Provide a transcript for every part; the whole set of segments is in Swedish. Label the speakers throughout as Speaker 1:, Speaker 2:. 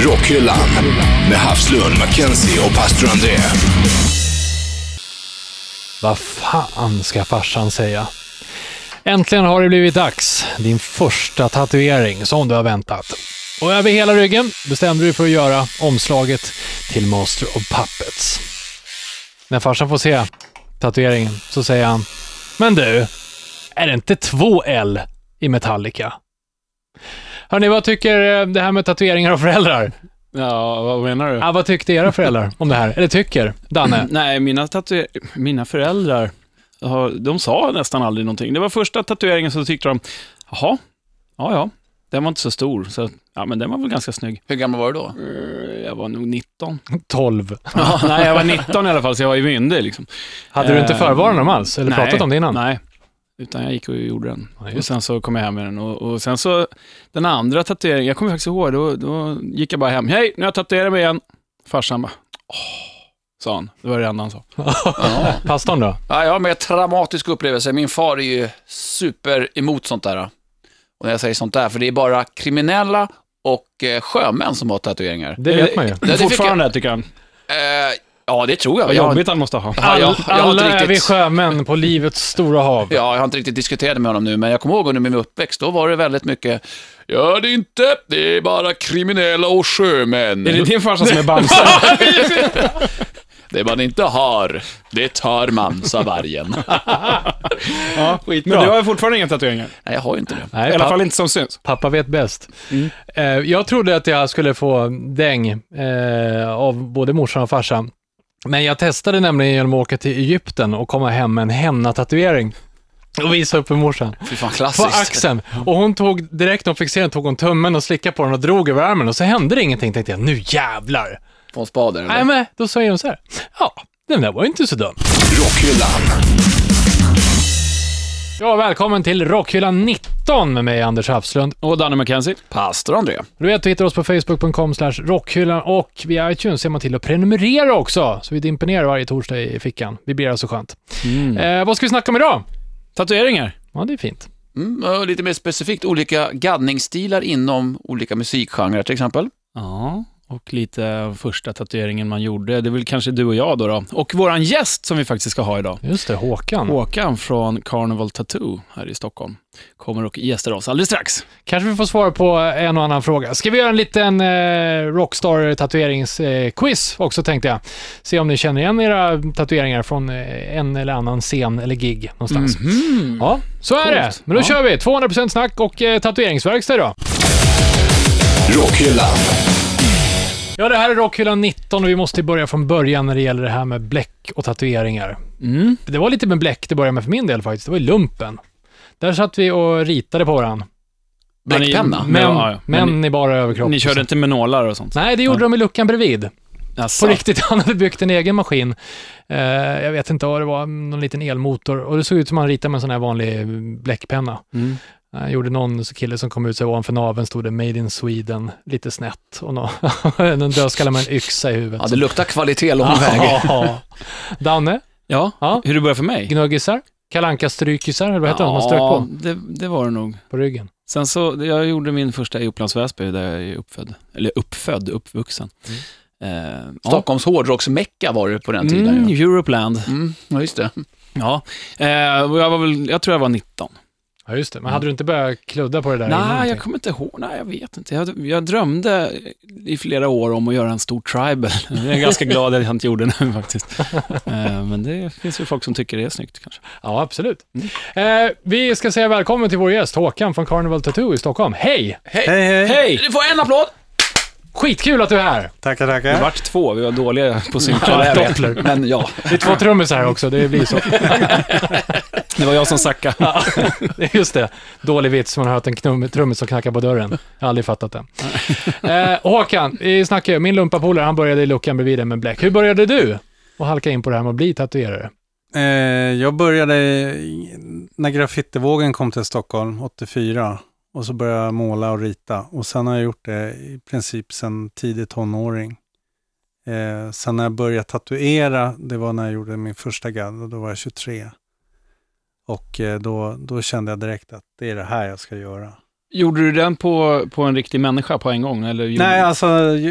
Speaker 1: Rockhyllan med Havslund, Mackenzie och pastor André.
Speaker 2: Vad fan ska farsan säga? Äntligen har det blivit dags. Din första tatuering som du har väntat. Och över hela ryggen bestämde du dig för att göra omslaget till Master of Puppets. När farsan får se tatueringen så säger han “Men du, är det inte två L i Metallica?” Hörni, vad tycker eh, det här med tatueringar och föräldrar?
Speaker 3: Ja, vad menar du?
Speaker 2: Ah, vad tyckte era föräldrar om det här? Eller tycker? Danne?
Speaker 3: Nej, mina, tatuer- mina föräldrar, har- de sa nästan aldrig någonting. Det var första tatueringen så tyckte de, jaha, ja, ja, den var inte så stor, så ja, men den var väl ganska snygg.
Speaker 4: Hur gammal var du då?
Speaker 3: Eh, Jag var nog 19.
Speaker 2: 12.
Speaker 3: Ja, nej, jag var 19 i alla fall, så jag var ju myndig liksom.
Speaker 2: Hade du inte
Speaker 3: Eh,
Speaker 2: förvarnat dem alls? Eller
Speaker 3: nej,
Speaker 2: pratat om det innan?
Speaker 3: Nej, utan jag gick och gjorde den.
Speaker 2: Ja, just
Speaker 3: och sen så kom jag hem med den. Och, och sen så, den andra tatueringen, jag kommer faktiskt ihåg, då, då gick jag bara hem. Hej, nu har jag tatuerat mig igen. Farsan bara, åh, sa han. Det var det enda han sa.
Speaker 4: Ja.
Speaker 2: Pastorn då?
Speaker 4: Ja, jag har med traumatisk upplevelse. Min far är ju super emot sånt där. Och när jag säger sånt där, för det är bara kriminella och eh, sjömän som har tatueringar.
Speaker 2: Det vet man ju.
Speaker 4: det fick jag-
Speaker 3: Fortfarande, tycker han.
Speaker 4: Eh, ja, det tror jag.
Speaker 3: Vad
Speaker 4: jag, har-
Speaker 3: jobbigt han måste ha.
Speaker 4: ja, jag, jag har
Speaker 2: Alla
Speaker 4: inte
Speaker 2: är vi
Speaker 4: riktigt...
Speaker 2: sjömän på livets stora hav.
Speaker 4: Ja, jag har inte riktigt diskuterat det med honom nu, men jag kommer ihåg under min uppväxt, då var det väldigt mycket Gör det inte, det är bara kriminella och sjömän.
Speaker 3: Är det din farsa som är Bamse?
Speaker 4: Det man inte har, det tar man, sa vargen.
Speaker 3: ja, Men du har ju fortfarande inga tatueringar.
Speaker 4: Nej, jag har ju inte det.
Speaker 2: Nej,
Speaker 3: I alla
Speaker 2: papp-
Speaker 3: fall inte som syns.
Speaker 2: pappa vet bäst.
Speaker 4: Mm.
Speaker 2: Eh, jag trodde att jag skulle få däng eh, av både morsan och farsan. Men jag testade nämligen genom att åka till Egypten och komma hem med en henna-tatuering och visa upp för morsan.
Speaker 4: Fy fan,
Speaker 2: På
Speaker 4: klassiskt.
Speaker 2: axeln.
Speaker 4: Mm.
Speaker 2: Och hon tog, direkt när hon fick se den, tog hon tummen och slickade på den och drog över armen och så hände det ingenting. Tänkte jag, nu jävlar.
Speaker 4: På en spade, eller?
Speaker 2: Nej, men då säger hon så här, ja, den där var ju inte så dum.
Speaker 1: Rockhyllan.
Speaker 2: Ja, välkommen till Rockhyllan 19 med mig, Anders Hafslund.
Speaker 3: Och Danne McKenzie.
Speaker 4: Pastor André.
Speaker 2: Du vet, du hittar oss på facebook.com slash rockhyllan och via iTunes ser man till att prenumerera också, så vi dimper ner varje torsdag i fickan. Vi blir så skönt. Eh, vad ska vi snacka om idag?
Speaker 3: Tatueringar.
Speaker 2: Ja, det är fint.
Speaker 4: Mm, och lite mer specifikt, olika gaddningsstilar inom olika musikgenrer till exempel.
Speaker 3: Ja, och lite första tatueringen man gjorde. Det är väl kanske du och jag då. då. Och våran gäst som vi faktiskt ska ha idag.
Speaker 2: Just det, Håkan.
Speaker 3: Håkan från Carnival Tattoo här i Stockholm kommer och gästar oss alldeles strax.
Speaker 2: Kanske vi får svara på en och annan fråga. Ska vi göra en liten eh, Rockstar-tatueringsquiz också tänkte jag. Se om ni känner igen era tatueringar från eh, en eller annan scen eller gig någonstans. Ja, så är det.
Speaker 3: Mhm. Coolt.
Speaker 2: Men då
Speaker 3: Ja.
Speaker 2: kör vi. 200% snack och eh, tatueringsverkstad idag.
Speaker 1: Rockhyllan.
Speaker 2: Ja, det här är Rockhyllan 19 och vi måste börja från början när det gäller det här med bläck och tatueringar.
Speaker 3: Mm.
Speaker 2: Det var lite med bläck det började med för min del faktiskt. Det var i lumpen. Där satt vi och ritade på varandra.
Speaker 4: Bläckpenna.
Speaker 3: Men-
Speaker 2: Men,
Speaker 3: ja, ja.
Speaker 2: men,
Speaker 3: Men
Speaker 2: i bara överkropp.
Speaker 3: Ni körde inte med nålar och sånt?
Speaker 2: Nej, det gjorde de i luckan bredvid.
Speaker 3: Jaså.
Speaker 2: På riktigt, han hade byggt en egen maskin. Eh, jag vet inte vad det var, någon liten elmotor. Och det såg ut som han ritade med en sån här vanlig bläckpenna.
Speaker 3: Mm.
Speaker 2: Han gjorde någon så kille som kom ut så här ovanför naveln stod det Made in Sweden, lite snett. Och nå- en dödskalle med en yxa i huvudet.
Speaker 4: Ja, det luktar kvalitet lång väg.
Speaker 2: Ja. Danne,
Speaker 3: Ja.
Speaker 2: Ja.
Speaker 3: hur det började för mig?
Speaker 2: gnuggisar, kalanka strykisar eller vad heter de? Man strök
Speaker 3: ja,
Speaker 2: på,
Speaker 3: det, det var det nog.
Speaker 2: på ryggen.
Speaker 3: Sen så, jag gjorde min första i Upplands Väsby där jag är uppfödd. Eller uppfödd, uppvuxen. Eh, ja.
Speaker 4: Stockholms hårdrocksmecka var det på Mm. den tiden.
Speaker 3: Mm,
Speaker 4: ju.
Speaker 3: Europeland.
Speaker 4: Mm, ja, just det.
Speaker 3: Ja. Eh, och jag, var väl, jag tror jag var 19.
Speaker 2: Ja, just det. Men hade du inte börjat kludda på det där innan?
Speaker 3: Nej, jag
Speaker 2: tänkte-
Speaker 3: kommer inte ihåg. Nej, jag vet inte. Jag, jag drömde i flera år om att göra en stor tribal. Jag är ganska glad att jag inte gjorde det nu faktiskt. Eh, men det finns ju folk som tycker det är snyggt kanske.
Speaker 2: Ja, absolut.
Speaker 3: Mm.
Speaker 2: Eh, vi ska säga välkommen till vår gäst Håkan från Carnival Tattoo i Stockholm. Hej!
Speaker 5: Hej,
Speaker 4: Eh,
Speaker 5: hej.
Speaker 3: Hej!
Speaker 4: Du får en applåd!
Speaker 2: Skitkul att du är här!
Speaker 5: Tackar,
Speaker 3: Det
Speaker 5: tackar.
Speaker 3: vart två, vi var dåliga på sin
Speaker 4: Ja, jag vet.
Speaker 2: Doppler.
Speaker 4: Men ja,
Speaker 2: Det är två trummisar här också, det blir så.
Speaker 3: Det var jag som sackade.
Speaker 2: Just det, dålig vits, man har hört en knum- trummis som knackar på dörren. Jag har aldrig fattat den. Eh, Håkan, vi snackar ju, min lumparpolare, han började i luckan bredvid den med bläck. Hur började du att halka in på det här med att bli tatuerare?
Speaker 5: Eh, jag började i- när graffitivågen kom till Stockholm 84 och så började jag måla och rita och sen har jag gjort det i princip sedan tidig tonåring. Eh, sen när jag började tatuera, det var när jag gjorde min första gadd och då var jag 23. Och eh, då, då kände jag direkt att det är det här jag ska göra.
Speaker 3: Gjorde du den på, på en riktig människa på en gång? Eller gjorde
Speaker 5: Nej,
Speaker 3: du...
Speaker 5: alltså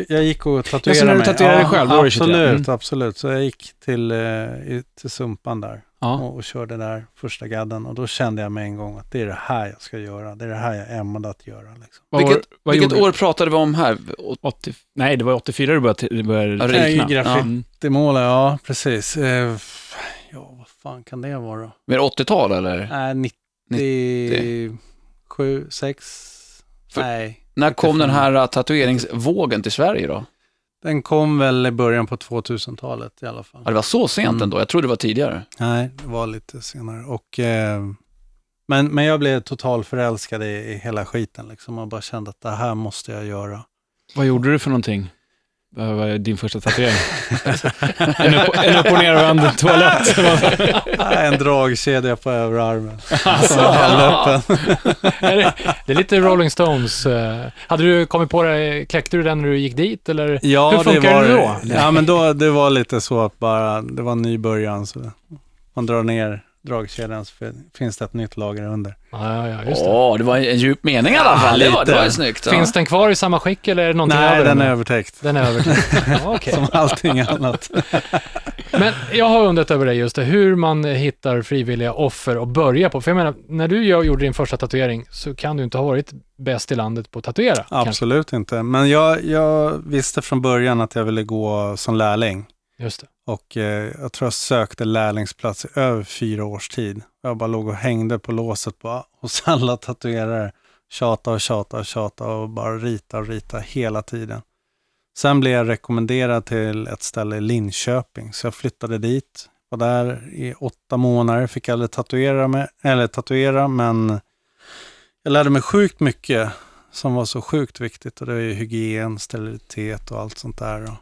Speaker 5: jag gick och tatuerade
Speaker 3: Ja, så när du
Speaker 5: mig.
Speaker 3: tatuerade dig själv, då var du 23.
Speaker 5: Absolut,
Speaker 3: Mm.
Speaker 5: absolut. Så jag gick till, eh, i- till Sumpan där
Speaker 3: ja.
Speaker 5: och, och körde där första gadden. Och då kände jag med en gång att det är det här jag ska göra. Det är det här jag är ämnad att göra. Liksom.
Speaker 3: Vad var-
Speaker 4: vilket
Speaker 3: vad
Speaker 4: vilket
Speaker 3: gjorde du?
Speaker 4: år pratade vi om här? Och-
Speaker 3: 80... Nej, det var 84 du började, du
Speaker 4: Ja,
Speaker 3: började
Speaker 4: det är ju
Speaker 3: räkna.
Speaker 5: graffiti.
Speaker 3: Mm.
Speaker 5: Det målar ja precis. Eh, f- ja, vad fan kan det vara då?
Speaker 4: Mer 80-tal eller?
Speaker 5: Nej, 97, 6?
Speaker 4: För-
Speaker 5: Nej.
Speaker 4: När kom
Speaker 5: 85.
Speaker 4: den här eh, tatueringsvågen till Sverige då?
Speaker 5: Den kom väl i början på 2000-talet i alla fall.
Speaker 4: Ja, det var så sent
Speaker 5: Mm.
Speaker 4: ändå. Jag trodde det var tidigare.
Speaker 5: Nej, det var lite senare. Och, eh, men, men jag blev total förälskad i, i hela skiten liksom och bara kände att det här måste jag göra.
Speaker 3: Vad gjorde du för någonting? Vad var din första tatuering? en, upp, en upp och nervänd toalett.
Speaker 5: Nej, Ah! en dragkedja på överarmen.
Speaker 3: Alltså,
Speaker 5: Som jag hällde upp en.
Speaker 2: Är det, det är lite Rolling Stones. eh, Hade du kommit på det, kläckte du den när du gick dit eller?
Speaker 5: Ja,
Speaker 2: Hur funkar
Speaker 5: var,
Speaker 2: det då?
Speaker 5: Ja, men då, det var lite så att bara, det var en ny början. Så man drar ner dragkedjan så fin- finns det ett nytt lager under.
Speaker 2: Ja, ja, just det.
Speaker 4: Åh, det var en en djup mening i alla fall. Det var, det
Speaker 5: lite.
Speaker 4: var ju snyggt. Ja.
Speaker 2: Finns den kvar i samma skick eller är det någonting
Speaker 5: Nej,
Speaker 2: över
Speaker 5: den
Speaker 2: nu?
Speaker 5: är övertäckt.
Speaker 2: Den är övertäckt. Ja, okej.
Speaker 5: Som allting annat.
Speaker 2: Men jag har undrat över det just det, hur man hittar frivilliga offer och börja på. För jag menar, när du gör- gjorde din första tatuering så kan du inte ha varit bäst i landet på att tatuera. kanske.
Speaker 5: Absolut inte. Men jag, jag visste från början att jag ville gå som lärling.
Speaker 2: Just det.
Speaker 5: Och eh, jag tror jag sökte lärlingsplats i över fyra års tid. Jag bara låg och hängde på låset på, hos alla tatuerare. Tjata och tjata och tjata och bara rita och rita hela tiden. Sen blev jag rekommenderad till ett ställe i Linköping, så jag flyttade dit. Var där i åtta månader, fick aldrig tatuera, mig, eller tatuera men jag lärde mig sjukt mycket som var så sjukt viktigt och det är ju hygien, sterilitet och allt sånt där. Och-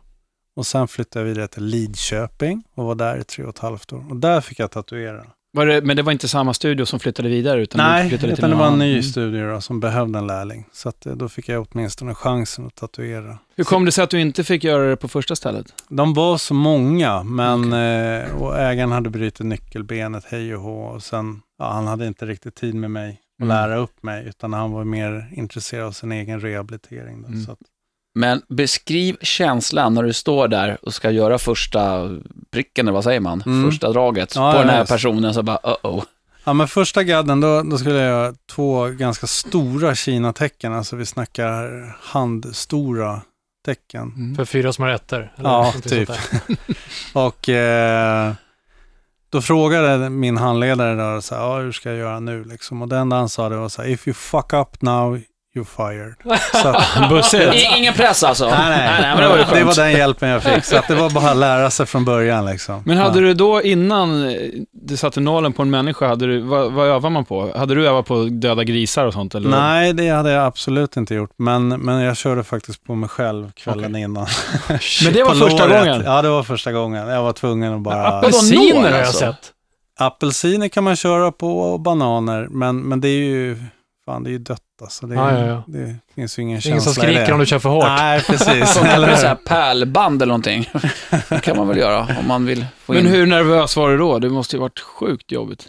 Speaker 5: och sen flyttade jag vidare till Lidköping och var där i tre och ett halvt år. Och där fick jag tatuera.
Speaker 3: Var det, men det var inte samma studio som flyttade vidare? Utan du
Speaker 5: Nej,
Speaker 3: flyttade
Speaker 5: utan det var en
Speaker 3: annan.
Speaker 5: ny
Speaker 3: Mm.
Speaker 5: studio då, som behövde en lärling. Så att, eh, då fick jag åtminstone chansen att tatuera.
Speaker 3: Hur kom det sig att du inte fick göra det på första stället?
Speaker 5: De var så många, men eh, och ägaren hade brutit nyckelbenet, hej och hå. Och sen, ja, han hade inte riktigt tid med mig att
Speaker 3: Mm.
Speaker 5: lära upp mig, utan han var mer intresserad av sin egen rehabilitering. Då,
Speaker 3: Mm.
Speaker 5: så att,
Speaker 4: Men beskriv känslan när du står där och ska göra första pricken, eller vad säger man?
Speaker 5: Mm.
Speaker 4: Första draget
Speaker 5: Ja,
Speaker 4: på
Speaker 5: ja,
Speaker 4: den här
Speaker 5: visst.
Speaker 4: personen, så bara uh-oh.
Speaker 5: Ja, men första gadden, då, då skulle jag göra två ganska stora Kina-tecken. Alltså vi snackar handstora tecken.
Speaker 3: Mm.
Speaker 2: För fyra små rätter. eller
Speaker 5: Ja,
Speaker 2: någonting sånt
Speaker 5: typ.
Speaker 2: där.
Speaker 5: Och eh, då frågade min handledare där, så här, "Ja, hur ska jag göra nu liksom? Och det enda han sa det var så här, if you fuck up now, you're fired. Så att,
Speaker 4: I, ingen press alltså?
Speaker 5: nej, nej,
Speaker 4: men det var ju skönt.
Speaker 5: det var den hjälpen jag fick. Så att det var bara att lära sig från början liksom.
Speaker 3: Men hade
Speaker 5: ja.
Speaker 3: du då innan eh, du satte nålen på en människa, hade du, vad, vad övar man på? Hade du övat på döda grisar och sånt? Eller?
Speaker 5: Nej, det hade jag absolut inte gjort. Men, men jag körde faktiskt på mig själv kvällen innan.
Speaker 3: Men det var
Speaker 5: På
Speaker 3: första
Speaker 5: låret.
Speaker 3: gången?
Speaker 5: Ja, det var första gången. Jag var tvungen att bara...
Speaker 4: Vadå, nål,
Speaker 2: Apelsiner har jag
Speaker 4: alltså?
Speaker 2: sett.
Speaker 5: Apelsiner kan man köra på och bananer, men, men det är ju, fan det är ju dött alltså. Det, är,
Speaker 2: Ja, ja, ja.
Speaker 5: det finns ju ingen
Speaker 2: Det är ingen som
Speaker 5: känsla i
Speaker 2: skriker
Speaker 5: det.
Speaker 2: om du kör för hårt.
Speaker 5: Nej, precis.
Speaker 4: Eller med så
Speaker 5: Eller,
Speaker 4: här pärlband eller någonting. Det kan man väl göra om man vill få in.
Speaker 3: Men hur nervös var du då? Det måste ju varit sjukt jobbigt.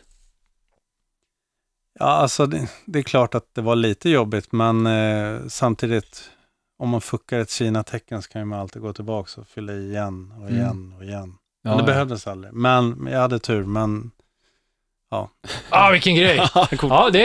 Speaker 5: ja, alltså det, det är klart att det var lite jobbigt, men eh, samtidigt, om man fuckar ett Kina-tecken så kan ju man alltid gå tillbaka och fylla i igen och
Speaker 3: Mm.
Speaker 5: igen och igen. Men
Speaker 3: Ja,
Speaker 5: det
Speaker 3: ja.
Speaker 5: behövdes aldrig. Men men jag hade tur, men
Speaker 2: Ah, vilken grej. Ja, det är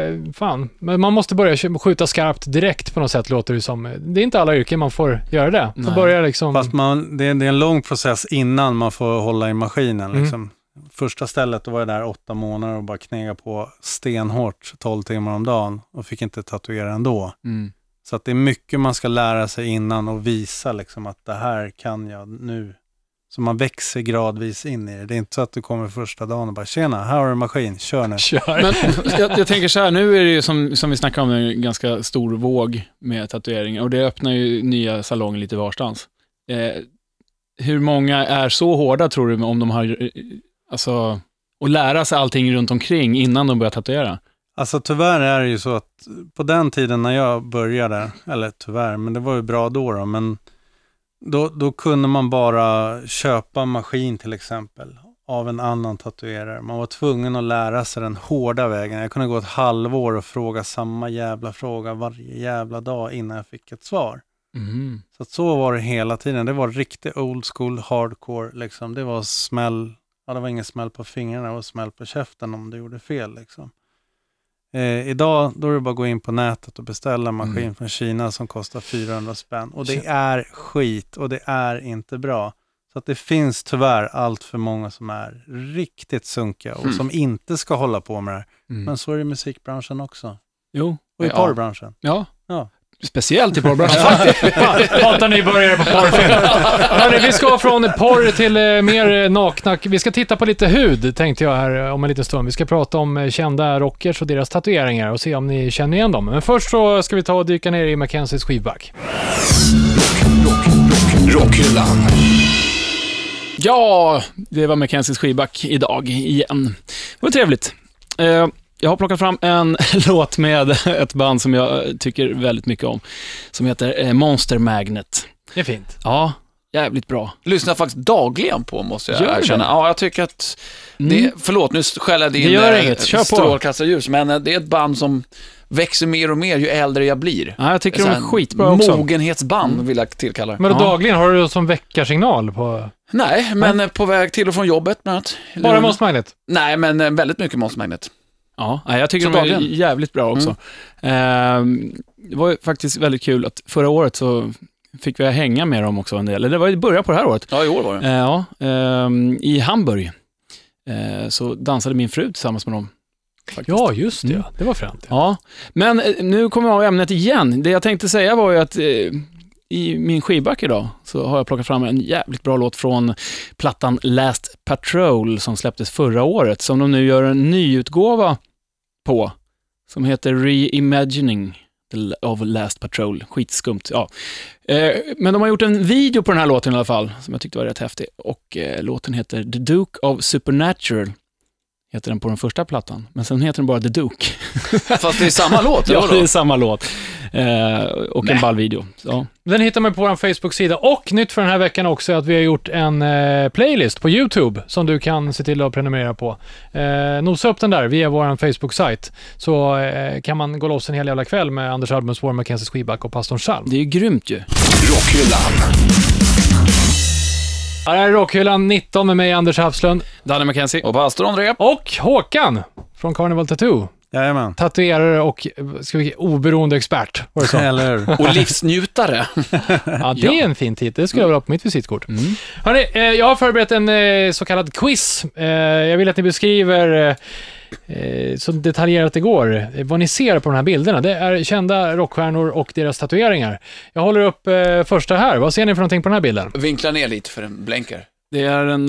Speaker 2: ett... Eh, fan. Men man måste börja kö- skjuta skarpt direkt på något sätt, låter det som. Det är inte alla yrken man får göra det. Man
Speaker 3: Nej.
Speaker 2: börjar liksom...
Speaker 5: Fast man, det, är, det är en lång process innan man får hålla i maskinen.
Speaker 2: Mm.
Speaker 5: Liksom. Första stället då var jag där åtta månader och bara knega på stenhårt 12 timmar om dagen och fick inte tatuera ändå.
Speaker 3: Mm.
Speaker 5: Så att det är mycket man ska lära sig innan och visa liksom, att det här kan jag nu. Så man växer gradvis in i det. Det är inte så att du kommer första dagen och bara tjena, här har du en maskin, kör nu.
Speaker 2: Kör.
Speaker 3: Men jag, jag tänker så här, nu är det ju som, som vi snackade om en ganska stor våg med tatueringar och det öppnar ju nya salonger lite varstans. Eh, hur många är så hårda tror du om de har, eh, alltså, att lära sig allting runt omkring innan de börjar tatuera?
Speaker 5: Alltså tyvärr är det ju så att på den tiden när jag började, eller tyvärr, men det var ju bra då då, men då, då kunde man bara köpa en maskin till exempel av en annan tatuerare. Man var tvungen att lära sig den hårda vägen. Jag kunde gå ett halvår och fråga samma jävla fråga varje jävla dag innan jag fick ett svar.
Speaker 3: Mhm.
Speaker 5: Så att så var det hela tiden. Det var riktigt old school hardcore liksom. Det var smäll, ja det var ingen smäll på fingrarna, det var smäll på käften om du gjorde fel liksom. Eh, idag då är det bara att gå in på nätet och beställa en maskin
Speaker 3: Mm.
Speaker 5: från Kina som kostar 400 spänn. Och
Speaker 3: Shit.
Speaker 5: det är skit och det är inte bra. Så att det finns tyvärr allt för många som är riktigt sunkiga och
Speaker 4: Hmm.
Speaker 5: som inte ska hålla på med det här.
Speaker 3: Mm.
Speaker 5: Men så är det i musikbranschen också.
Speaker 3: Jo,
Speaker 5: Och i
Speaker 4: Ja.
Speaker 5: porrbranschen.
Speaker 3: ja.
Speaker 5: Ja.
Speaker 3: Speciellt i porrbranschen faktiskt.
Speaker 2: Fan, hatar nybörjare på porrfilm. Hörni, vi ska från porr till eh, mer eh, nakna. Vi ska titta på lite hud, tänkte jag här eh, om en liten stund. Vi ska prata om eh, kända rockers och deras tatueringar och se om ni känner igen dem. Men först så ska vi ta och dyka ner i Mackenzies skivback.
Speaker 1: Rockhyllan.
Speaker 3: Ja, det var Mackenzies skivback idag igen. Det var trevligt. Eh, Jag har plockat fram en låt med ett band som jag eh, tycker väldigt mycket om, som heter eh, Monster Magnet.
Speaker 2: Det är fint.
Speaker 3: Ja, jävligt bra.
Speaker 4: Lyssnar faktiskt dagligen på, måste jag
Speaker 3: Gör du
Speaker 4: erkänna.
Speaker 3: det?
Speaker 4: Ja, jag tycker att...
Speaker 3: Mm.
Speaker 4: Det, förlåt, nu skäller jag
Speaker 3: Det
Speaker 4: in
Speaker 3: gör
Speaker 4: eh,
Speaker 3: inget. Kör på.
Speaker 4: strålkastarljus, men eh, det är ett band som växer mer och mer ju äldre jag blir.
Speaker 3: Ja, jag tycker de
Speaker 4: Så
Speaker 3: är
Speaker 4: här,
Speaker 3: skitbra också. Mm.
Speaker 4: Mogenhetsband vill jag tillkalla det.
Speaker 2: Men då
Speaker 3: Ja.
Speaker 2: dagligen, har du som veckarsignal på...
Speaker 4: Nej, men eh, på väg till och från jobbet bland annat.
Speaker 2: Bara Måns Magnet?
Speaker 4: Nej, men eh, väldigt mycket Måns Magnet.
Speaker 3: Ja, nej, jag tycker
Speaker 4: Så
Speaker 3: de är
Speaker 4: dagligen.
Speaker 3: jävligt bra också. Ehm, det var ju faktiskt väldigt kul att förra året så fick vi hänga med dem också en del. Eller det var i början på det här året.
Speaker 4: Ja, i år var det.
Speaker 3: Eh, ja, ehm, I Hamburg eh, så dansade min fru tillsammans med dem. faktiskt.
Speaker 2: Ja, just det.
Speaker 3: Mm.
Speaker 2: Det var fränt.
Speaker 3: Ja, men eh, nu kommer jag av ämnet igen. Det jag tänkte säga var ju att eh, i min skivback idag så har jag plockat fram en jävligt bra låt från plattan Last Patrol som släpptes förra året, som de nu gör en nyutgåva på, som heter Reimagining of Last Patrol. Skitskumt, ja. Eh, Men de har gjort en video på den här låten i alla fall, som jag tyckte var rätt häftig. Och eh, låten heter The Duke of Supernatural, heter den på den första plattan. Men sen heter den bara The Duke.
Speaker 4: Fast det är samma låt, eller
Speaker 3: Ja, det
Speaker 4: vadå?
Speaker 3: är samma låt. Eh, och en ball video. Ja.
Speaker 2: Den hittar man på vår Facebook-sida och nytt för den här veckan också är att vi har gjort en eh, playlist på YouTube som du kan se till att prenumerera på. Eh, nosa upp den där via vår Facebook-sajt så eh, kan man gå loss en hel jävla kväll med Anders Albumsvår, Mackenzie Skiback och Pastorn Salm.
Speaker 3: Det är ju grymt ju.
Speaker 1: Rockhyllan.
Speaker 2: Här är Rockhyllan 19 med mig Anders Hafslund
Speaker 3: Danne McKenzie.
Speaker 4: Och pastor André.
Speaker 2: och Håkan från Carnival Tattoo.
Speaker 5: Jajamän.
Speaker 2: Tatuerare och eh, ska vi, oberoende expert. Var det så?
Speaker 5: Eller hur?
Speaker 4: Och livsnjutare.
Speaker 2: Ja, det är en fin titel. Det skulle jag vilja ha på mitt visitkort. Mm. Hörrni, eh, jag har förberett en eh, så kallad quiz. Eh, jag vill att ni beskriver eh, eh, så detaljerat det går eh, vad ni ser på de här bilderna. Det är kända rockstjärnor och deras tatueringar. Jag håller upp eh, första här. Vad ser ni för någonting på den här bilden?
Speaker 4: Vinklar ner lite för en blänker.
Speaker 3: Det är en,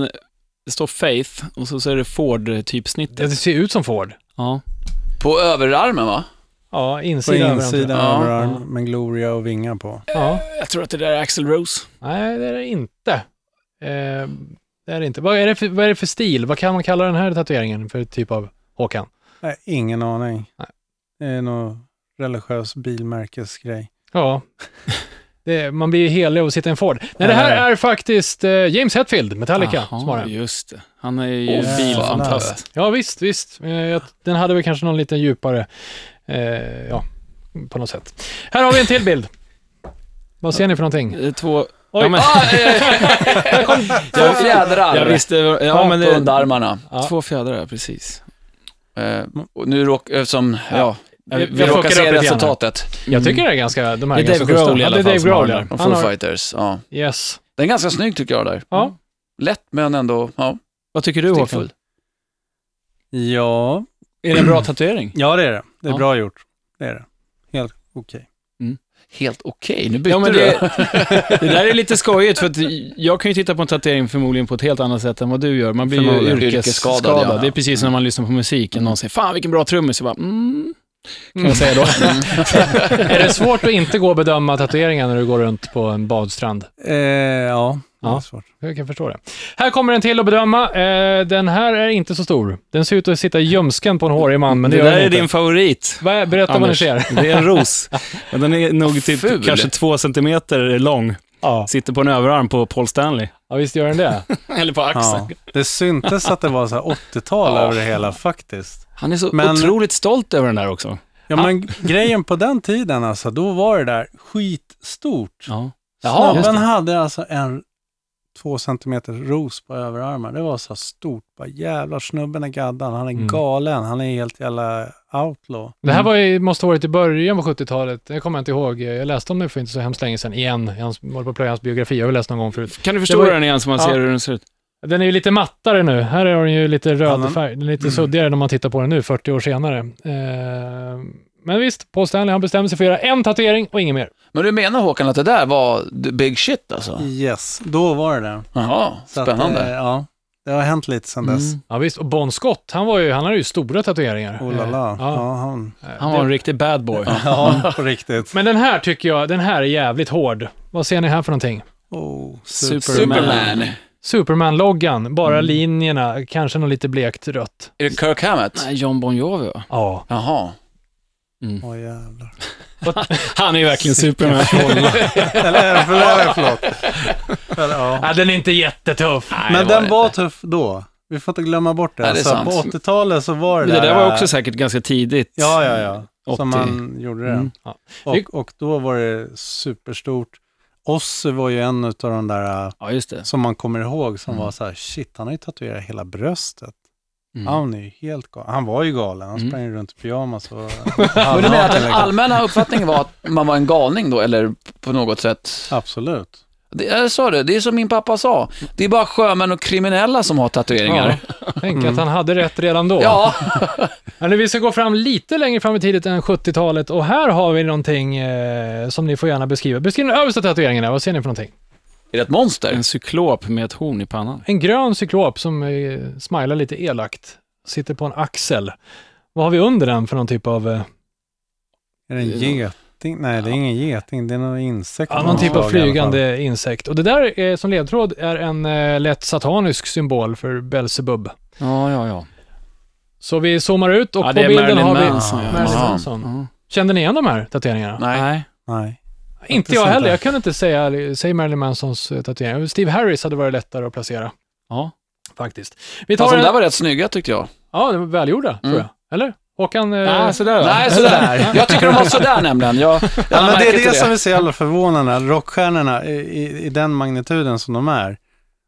Speaker 3: det står Faith och så, så är det
Speaker 2: Det
Speaker 3: Ford-typsnittet.
Speaker 2: ser ut som Ford.
Speaker 3: Ja.
Speaker 4: På överarmen, va?
Speaker 2: Ja,
Speaker 5: På
Speaker 2: insida.
Speaker 5: insidan
Speaker 4: Ja.
Speaker 5: av överarmen med Gloria och vingar på.
Speaker 2: Ja.
Speaker 3: Jag tror att det där är Axel Rose.
Speaker 2: Nej, det är det inte. Eh, det är det inte. Vad är det, för, vad är det för stil? Vad kan man kalla den här tatueringen för typ av Håkan?
Speaker 5: Nej, ingen aning.
Speaker 2: Nej.
Speaker 5: Det är någon religiös bilmärkesgrej.
Speaker 2: Ja. Det, man blir ju helig av att sitta i en Ford. Nej, det här är faktiskt eh, James Hetfield, Metallica, som har den.
Speaker 3: just det. Han är ju
Speaker 4: Åh,
Speaker 3: bilfantast.
Speaker 2: Ja, visst, visst. Eh, jag- den hade väl kanske någon lite djupare, eh, ja, på något sätt. Här har vi en till bild. Vad ser ni för någonting?
Speaker 3: Det är Eh, två...
Speaker 2: Oj.
Speaker 3: Ja, men,
Speaker 4: Ah, eh, två fjädrar.
Speaker 3: jag visste... Ja, men
Speaker 4: på
Speaker 3: det,
Speaker 4: underarmarna.
Speaker 2: Ja.
Speaker 3: två fjädrar, ja, precis.
Speaker 4: Eh, och nu råkar, som, ja, vi, vi
Speaker 2: jag
Speaker 4: råkar
Speaker 2: plockar upp
Speaker 4: se
Speaker 2: lite grann.
Speaker 4: resultatet.
Speaker 2: Jag
Speaker 3: Mm.
Speaker 2: tycker det är ganska, de här
Speaker 3: Det är
Speaker 2: ganska
Speaker 3: Dave
Speaker 2: schyssta.
Speaker 3: Grohl i
Speaker 2: Ja,
Speaker 3: alla
Speaker 2: det är
Speaker 3: fall
Speaker 2: Dave
Speaker 3: som har
Speaker 2: Grohl,
Speaker 3: den.
Speaker 2: ja.
Speaker 4: De
Speaker 2: Han
Speaker 4: Foo
Speaker 2: har,
Speaker 4: Fighters, ja.
Speaker 2: yes.
Speaker 4: Den är ganska snygg tycker jag där.
Speaker 2: Ja.
Speaker 4: Lätt men ändå, ja.
Speaker 3: Vad tycker du Håkan?
Speaker 4: Stickfull.
Speaker 5: Ja,
Speaker 3: Är det en bra tatuering?
Speaker 5: ja det är det. Det är
Speaker 3: Ja.
Speaker 5: bra gjort. Det är det. Helt okej.
Speaker 4: Helt okej, nu bytte
Speaker 3: Ja, men
Speaker 4: du.
Speaker 3: det, det där är lite skojigt, för att jag kan ju titta på en tatuering förmodligen på ett helt annat sätt än vad du gör. Man blir ju
Speaker 4: Förmodligen.
Speaker 3: yrkesskadad. Mm.
Speaker 4: Yrkesskadad, ja.
Speaker 3: Det är precis som när man lyssnar på musik, och någon säger ”Fan vilken bra trummis”, jag bara mm. Kan jag säga då.
Speaker 4: Mm.
Speaker 2: Är det svårt att inte gå och bedöma tatueringar när du går runt på en badstrand?
Speaker 5: Eh, ja, det är
Speaker 2: Ja.
Speaker 5: svårt.
Speaker 2: Jag kan förstå det. Här kommer en till att bedöma. Eh, den här är inte så stor. Den ser ut att sitta i ljumsken på en hårig man, men det,
Speaker 3: det
Speaker 2: gör
Speaker 3: där
Speaker 2: den
Speaker 3: är
Speaker 2: inte.
Speaker 3: din favorit.
Speaker 2: Vad- Berätta vad ni
Speaker 3: Anders.
Speaker 2: ser.
Speaker 3: Det är en ros. Men den är nog typ
Speaker 4: Ful.
Speaker 3: kanske två centimeter lång.
Speaker 2: Ja.
Speaker 3: Sitter på en överarm på Paul Stanley.
Speaker 2: Ja, visst gör den det.
Speaker 3: Eller på axeln.
Speaker 5: Ja. Det syntes att det var så här 80-tal
Speaker 4: Ja.
Speaker 5: över det hela faktiskt.
Speaker 3: Han är så
Speaker 5: Men-
Speaker 3: otroligt stolt över den där också.
Speaker 5: Ja, men grejen på den tiden alltså, då var det där skitstort.
Speaker 3: Ja.
Speaker 2: Jaha,
Speaker 5: Snubben
Speaker 3: just
Speaker 5: hade alltså en två centimeter ros på överarmen. Det var så här stort. Bara, jävlar, snubben är gaddad. Han är
Speaker 2: Mm.
Speaker 5: galen. Han är helt jävla outlaw.
Speaker 2: Det här var ju, måste ha varit i början på 70-talet. Det kommer jag inte ihåg. Jag läste om det för inte så hemskt länge sedan, igen. Jag håller på att plöja hans biografi. Jag har väl läst någon gång förut.
Speaker 3: Kan du förstå
Speaker 2: Det var-
Speaker 3: den igen så man
Speaker 2: Ja.
Speaker 3: ser hur den ser ut?
Speaker 2: Den är ju lite mattare nu. Här är den ju lite röd
Speaker 5: Annan.
Speaker 2: färg. Den är lite suddigare när man tittar på den nu, 40 år senare. Eh, men visst, Paul Stanley, han bestämde sig för att göra en tatuering och ingen mer.
Speaker 4: Men du menar Håkan att det där var the big shit alltså?
Speaker 5: Yes, då var det det.
Speaker 4: Jaha,
Speaker 5: Mm. Så att, eh,
Speaker 4: spännande.
Speaker 5: ja, det har hänt lite sedan dess.
Speaker 2: Ja, visst. Och Bon Scott, han, var ju, han hade ju stora tatueringar.
Speaker 5: Oh la la.
Speaker 2: Eh, ja.
Speaker 5: Ja, han.
Speaker 3: Han var en riktig bad boy.
Speaker 5: ja, på riktigt.
Speaker 2: Men den här tycker jag, den här är jävligt hård. Vad ser ni här för någonting?
Speaker 5: Oh,
Speaker 3: Superman.
Speaker 4: Superman.
Speaker 2: Superman-loggan, bara
Speaker 3: Mm.
Speaker 2: linjerna, kanske något lite blekt rött.
Speaker 4: Är det Kirk Hammett?
Speaker 3: Nej, John Bon Jovi va?
Speaker 2: Ja.
Speaker 4: Jaha.
Speaker 5: Åh jävlar.
Speaker 3: Han är ju verkligen Superman.
Speaker 5: Eller förlåt. förlåt. Eller, ja.
Speaker 2: den är inte jättetuff.
Speaker 5: Men
Speaker 4: det var
Speaker 5: den var
Speaker 4: inte.
Speaker 5: tuff då. Vi får inte glömma bort det.
Speaker 4: Nej, det är
Speaker 5: så här, på
Speaker 4: sant.
Speaker 5: 80-talet så var det
Speaker 3: det där äh, var också säkert ganska tidigt.
Speaker 5: Ja, ja, ja. Som
Speaker 3: 80.
Speaker 5: man gjorde det.
Speaker 3: Mm.
Speaker 2: Ja. Vi-
Speaker 5: Och, och då var det superstort. Ozzy var ju en av de där äh,
Speaker 3: Ja, just det.
Speaker 5: som man kommer ihåg som var så här, shit, han har ju tatuerat hela bröstet. Han är ju helt galen. Han var ju galen. Han
Speaker 3: Mm.
Speaker 5: sprang ju runt i pyjamas och...
Speaker 4: Men du menar att den
Speaker 5: Halvnaken, liksom.
Speaker 4: allmänna uppfattningen var att man var en galning då, eller på något sätt?
Speaker 5: Absolut.
Speaker 4: Det, jag sa det, det är som min pappa sa. Det är bara sjömän och kriminella som har tatueringar.
Speaker 2: Tänk att han hade rätt redan då.
Speaker 4: Ja,
Speaker 2: Men nu, vi ska gå fram lite längre fram i tiden än 70-talet och här har vi någonting eh, som ni får gärna beskriva. Beskriv den översta tatueringen där, vad ser ni för någonting?
Speaker 4: är det ett monster?
Speaker 3: En cyklop med ett horn i pannan.
Speaker 2: En grön cyklop som eh, smilar lite elakt, sitter på en axel. Vad har vi under den för någon typ av, eh,
Speaker 5: Är det en geting? Nej, det är ingen geting. Det är någon insekt.
Speaker 2: ja,
Speaker 5: av
Speaker 2: någon
Speaker 5: något
Speaker 2: typ av
Speaker 5: slag i alla fall.
Speaker 2: flygande insekt? Och det där eh, som ledtråd är en eh, lätt satanisk symbol för Belzebub.
Speaker 3: Ja, ja, ja.
Speaker 2: Så vi zoomar ut och
Speaker 3: Ja,
Speaker 2: på
Speaker 3: det är
Speaker 2: bilden har vi
Speaker 3: Marilyn Manson, ja.
Speaker 2: Marilyn
Speaker 4: Aha.
Speaker 2: Manson.
Speaker 3: Ja.
Speaker 2: Kände ni igen de här tatueringarna? Ah,
Speaker 4: Nej.
Speaker 3: Nej.
Speaker 5: Nej.
Speaker 2: Inte
Speaker 5: Faktiskt
Speaker 2: jag
Speaker 5: inte.
Speaker 2: heller. Jag kunde inte säga, säg Marilyn Mansons eh, tatuering. Steve Harris hade varit lättare att placera,
Speaker 3: Ja.
Speaker 2: faktiskt. Vi tar
Speaker 4: Fast de
Speaker 2: en...
Speaker 4: där var rätt snygga tyckte jag.
Speaker 2: Ja, de var välgjorda, tror jag. Eller? Håkan? eh,
Speaker 3: Mm. Ja, sådär va?
Speaker 4: Nej, sådär. Jag tycker de var sådär nämligen. Jag, jag
Speaker 5: Ja, men det
Speaker 4: märker
Speaker 5: är det,
Speaker 4: till
Speaker 5: som är så jävla förvånande. Rockstjärnorna i, i, i den magnituden som de är,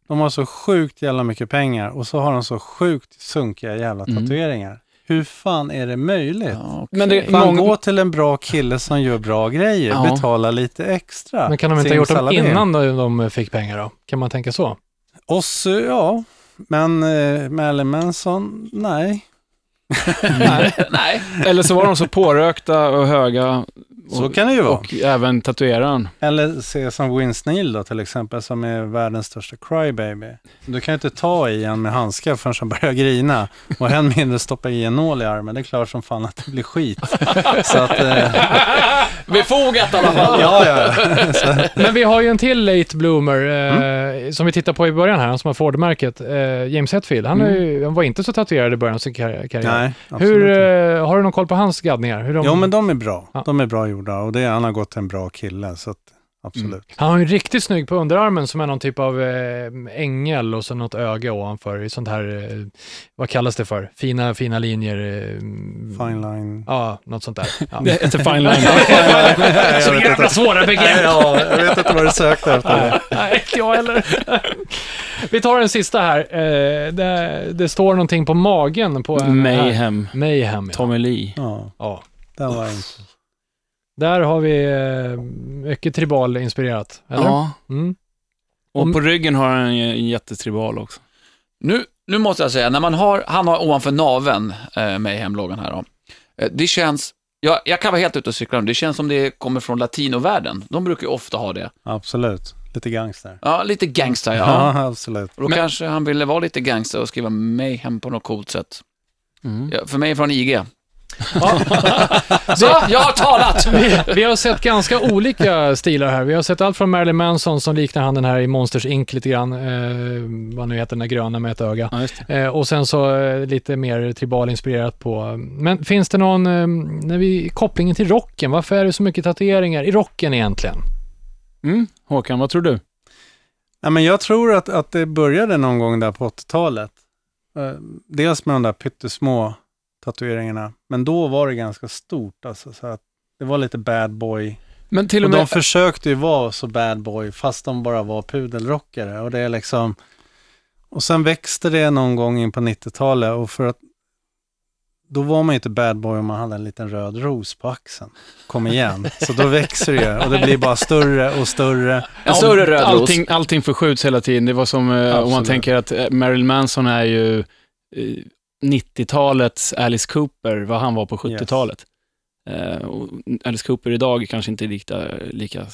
Speaker 5: de har så sjukt jävla mycket pengar och så har de så sjukt sunkiga jävla
Speaker 3: Mm.
Speaker 5: tatueringar. Hur fan är det möjligt?
Speaker 4: Ja, okej.
Speaker 3: Men det,
Speaker 5: Fan,
Speaker 3: många,
Speaker 5: gå till en bra kille som gör bra grejer,
Speaker 3: Ja.
Speaker 5: betala lite extra.
Speaker 2: Men kan de inte ha gjort dem
Speaker 5: Simsalabim.
Speaker 2: innan de- de fick pengar då? Kan man tänka så?
Speaker 5: Oss, ja. Men eh, Marilyn Manson, nej.
Speaker 4: Nej,
Speaker 3: eller så var de så pårökta och höga. Och,
Speaker 5: Så kan det ju vara.
Speaker 3: och även tatueraren.
Speaker 5: Eller se som Vince Neil då till exempel, som är världens största crybaby. Du kan ju inte ta i en med handskar förrän han börjar grina. Och än mindre stoppa i en nål i armen. Det är klart som fan att det blir skit. Så att, eh,
Speaker 4: befogat i alla fall.
Speaker 5: ja, ja.
Speaker 2: Men vi har ju en till late bloomer eh,
Speaker 5: Mm.
Speaker 2: som vi tittar på i början här, han som har Ford-märket, eh, James Hetfield. Han, är ju, han var inte så tatuerad i början av sin karri- karriär.
Speaker 5: Mm. Nej, absolut
Speaker 2: Hur,
Speaker 5: inte.
Speaker 2: eh, har du någon koll på hans gaddningar? Hur de...
Speaker 5: Jo, men de är bra.
Speaker 2: Ja.
Speaker 5: De är bra gjorda och det, han har gått till en bra kille. Så att, absolut.
Speaker 2: Han har ju en riktigt snygg på underarmen som är någon typ av eh, ängel och så något öga ovanför. i Sånt här, eh, vad kallas det för? Fina, fina linjer. Eh,
Speaker 5: Fine line.
Speaker 2: Ja, något sånt där. Ja.
Speaker 3: Det heter fine line.
Speaker 5: jag
Speaker 2: så
Speaker 5: vet
Speaker 2: jävla
Speaker 5: inte.
Speaker 2: svåra
Speaker 3: Äh,
Speaker 2: begrepp.
Speaker 5: Ja, jag vet inte vad du sökte efter.
Speaker 2: Nej, inte jag heller. Vi tar den sista här. Eh, det, det står någonting på magen på en... eh,
Speaker 3: Mayhem.
Speaker 2: Mayhem, ja.
Speaker 3: Tommy Lee.
Speaker 5: Ja,
Speaker 2: ja.
Speaker 5: det var inte.
Speaker 2: Där har vi eh, mycket tribal-inspirerat, eller?
Speaker 3: Ja.
Speaker 2: Mm.
Speaker 3: Och på ryggen har han ju en jättetribal också.
Speaker 4: Nu, nu måste jag säga, när man har, han har ovanför naven eh, med hemloggan här då. Eh, det känns, jag, jag kan vara helt ute och cykla nu, det känns som det kommer från latinovärlden. De brukar ju ofta ha det.
Speaker 5: Absolut. Lite gangster.
Speaker 4: Ja, lite gangsta ja.
Speaker 5: Ja, absolut.
Speaker 4: Och då
Speaker 3: Men-
Speaker 4: kanske han ville vara lite gangster och skriva Mayhem på något coolt sätt.
Speaker 3: Mm.
Speaker 4: Ja, för mig är från IG. Så, jag har talat!
Speaker 2: Vi har sett ganska olika stilar här. Vi har sett allt från Marilyn Manson som liknar han den här i Monsters Inc lite grann, eh, vad nu heter den där gröna med ett öga.
Speaker 3: Ja, just det.
Speaker 2: Eh, och sen så eh, lite mer tribal-inspirerat på, eh, men finns det någon, eh, när vi, kopplingen till rocken, varför är det så mycket tatueringar i rocken egentligen?
Speaker 3: Mm. Håkan, vad tror du?
Speaker 5: Ja, men jag tror att, att det började någon gång där på 80-talet. Eh, Dels med de där pyttesmå tatueringarna, men då var det ganska stort. Alltså, så att det var lite bad boy.
Speaker 3: Men till och
Speaker 5: Och
Speaker 3: med...
Speaker 5: de försökte ju vara så bad boy, fast de bara var pudelrockare. Och det är liksom... Och sen växte det någon gång in på 90-talet och för att då var man ju inte bad boy om man hade en liten röd ros på axeln. Kom igen. Så då växer det ju och det blir bara större och större.
Speaker 4: En större röd ros.
Speaker 3: allting, allting förskjuts hela tiden. Det var som eh, om man
Speaker 5: Absolut.
Speaker 3: tänker att eh, Marilyn Manson är ju eh, 90-talets Alice Cooper, vad han var på 70-talet. Eh, och Alice Cooper idag kanske inte är lika, lika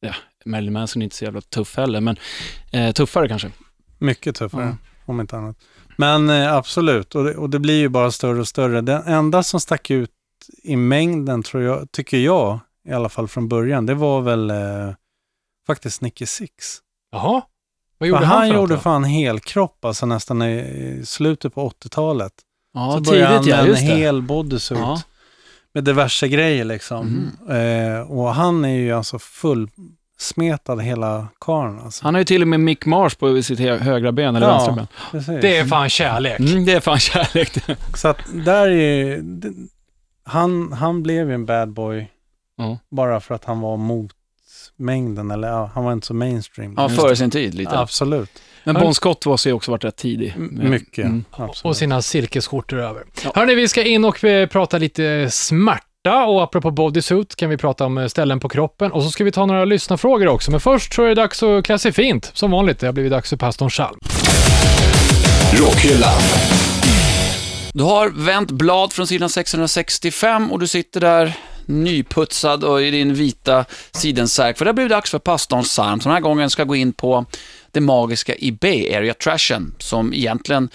Speaker 3: ja, Marilyn Manson är inte så jävla tuff heller, men eh, tuffare kanske.
Speaker 5: Mycket tuffare,
Speaker 3: Ja.
Speaker 5: om inte annat. Men eh, absolut, och det, och det blir ju bara större och större. Den enda som stack ut i mängden, tror jag, tycker jag, i alla fall från början, det var väl eh, faktiskt Nicky Six.
Speaker 2: Jaha? Vad
Speaker 5: För
Speaker 2: gjorde
Speaker 5: han,
Speaker 2: han för något
Speaker 5: gjorde
Speaker 2: då?
Speaker 5: fan helkropp, alltså nästan i, i slutet på 80-talet.
Speaker 3: Ja,
Speaker 5: så började
Speaker 3: tidigt ja,
Speaker 5: han med
Speaker 3: just
Speaker 5: en
Speaker 3: det.
Speaker 5: hel bodysuit.
Speaker 3: Ja.
Speaker 5: Med diverse grejer liksom. Eh, och han är ju alltså fullsmetad hela karln. Alltså.
Speaker 3: Han har ju till och med Mick Mars på sitt hö- högra ben, eller
Speaker 5: Ja.
Speaker 3: vänstra ben.
Speaker 5: Precis.
Speaker 2: Det är fan kärlek.
Speaker 3: Mm, det är fan kärlek det.
Speaker 5: Så att där är ju, det, han, han blev ju en bad boy
Speaker 3: Ja.
Speaker 5: bara för att han var mot mängden, eller ja, han var inte så mainstream.
Speaker 4: Ja, före sin tid lite.
Speaker 5: Absolut.
Speaker 3: Men
Speaker 2: Hör-
Speaker 3: Bon Scott var så ju också varit rätt tidig. Men-
Speaker 5: Mycket.
Speaker 3: Mm.
Speaker 5: Absolut.
Speaker 2: Och sina silkesskjortor över. Hörni, vi ska in och eh, prata lite smärta och apropå bodysuit kan vi prata om eh, ställen på kroppen och så ska vi ta några lyssnarfrågor också. Men först så är det dags att klä sig fint. Som vanligt, det har blivit dags för pastorn Chalm.
Speaker 1: Rockhyllan.
Speaker 4: Du har vänt blad från sidan 665 och du sitter där nyputsad och i din vita sidensärk. För det blir dags för pastorns psalm. Så den här gången ska jag gå in på det magiska i Bay Area Trashen, som egentligen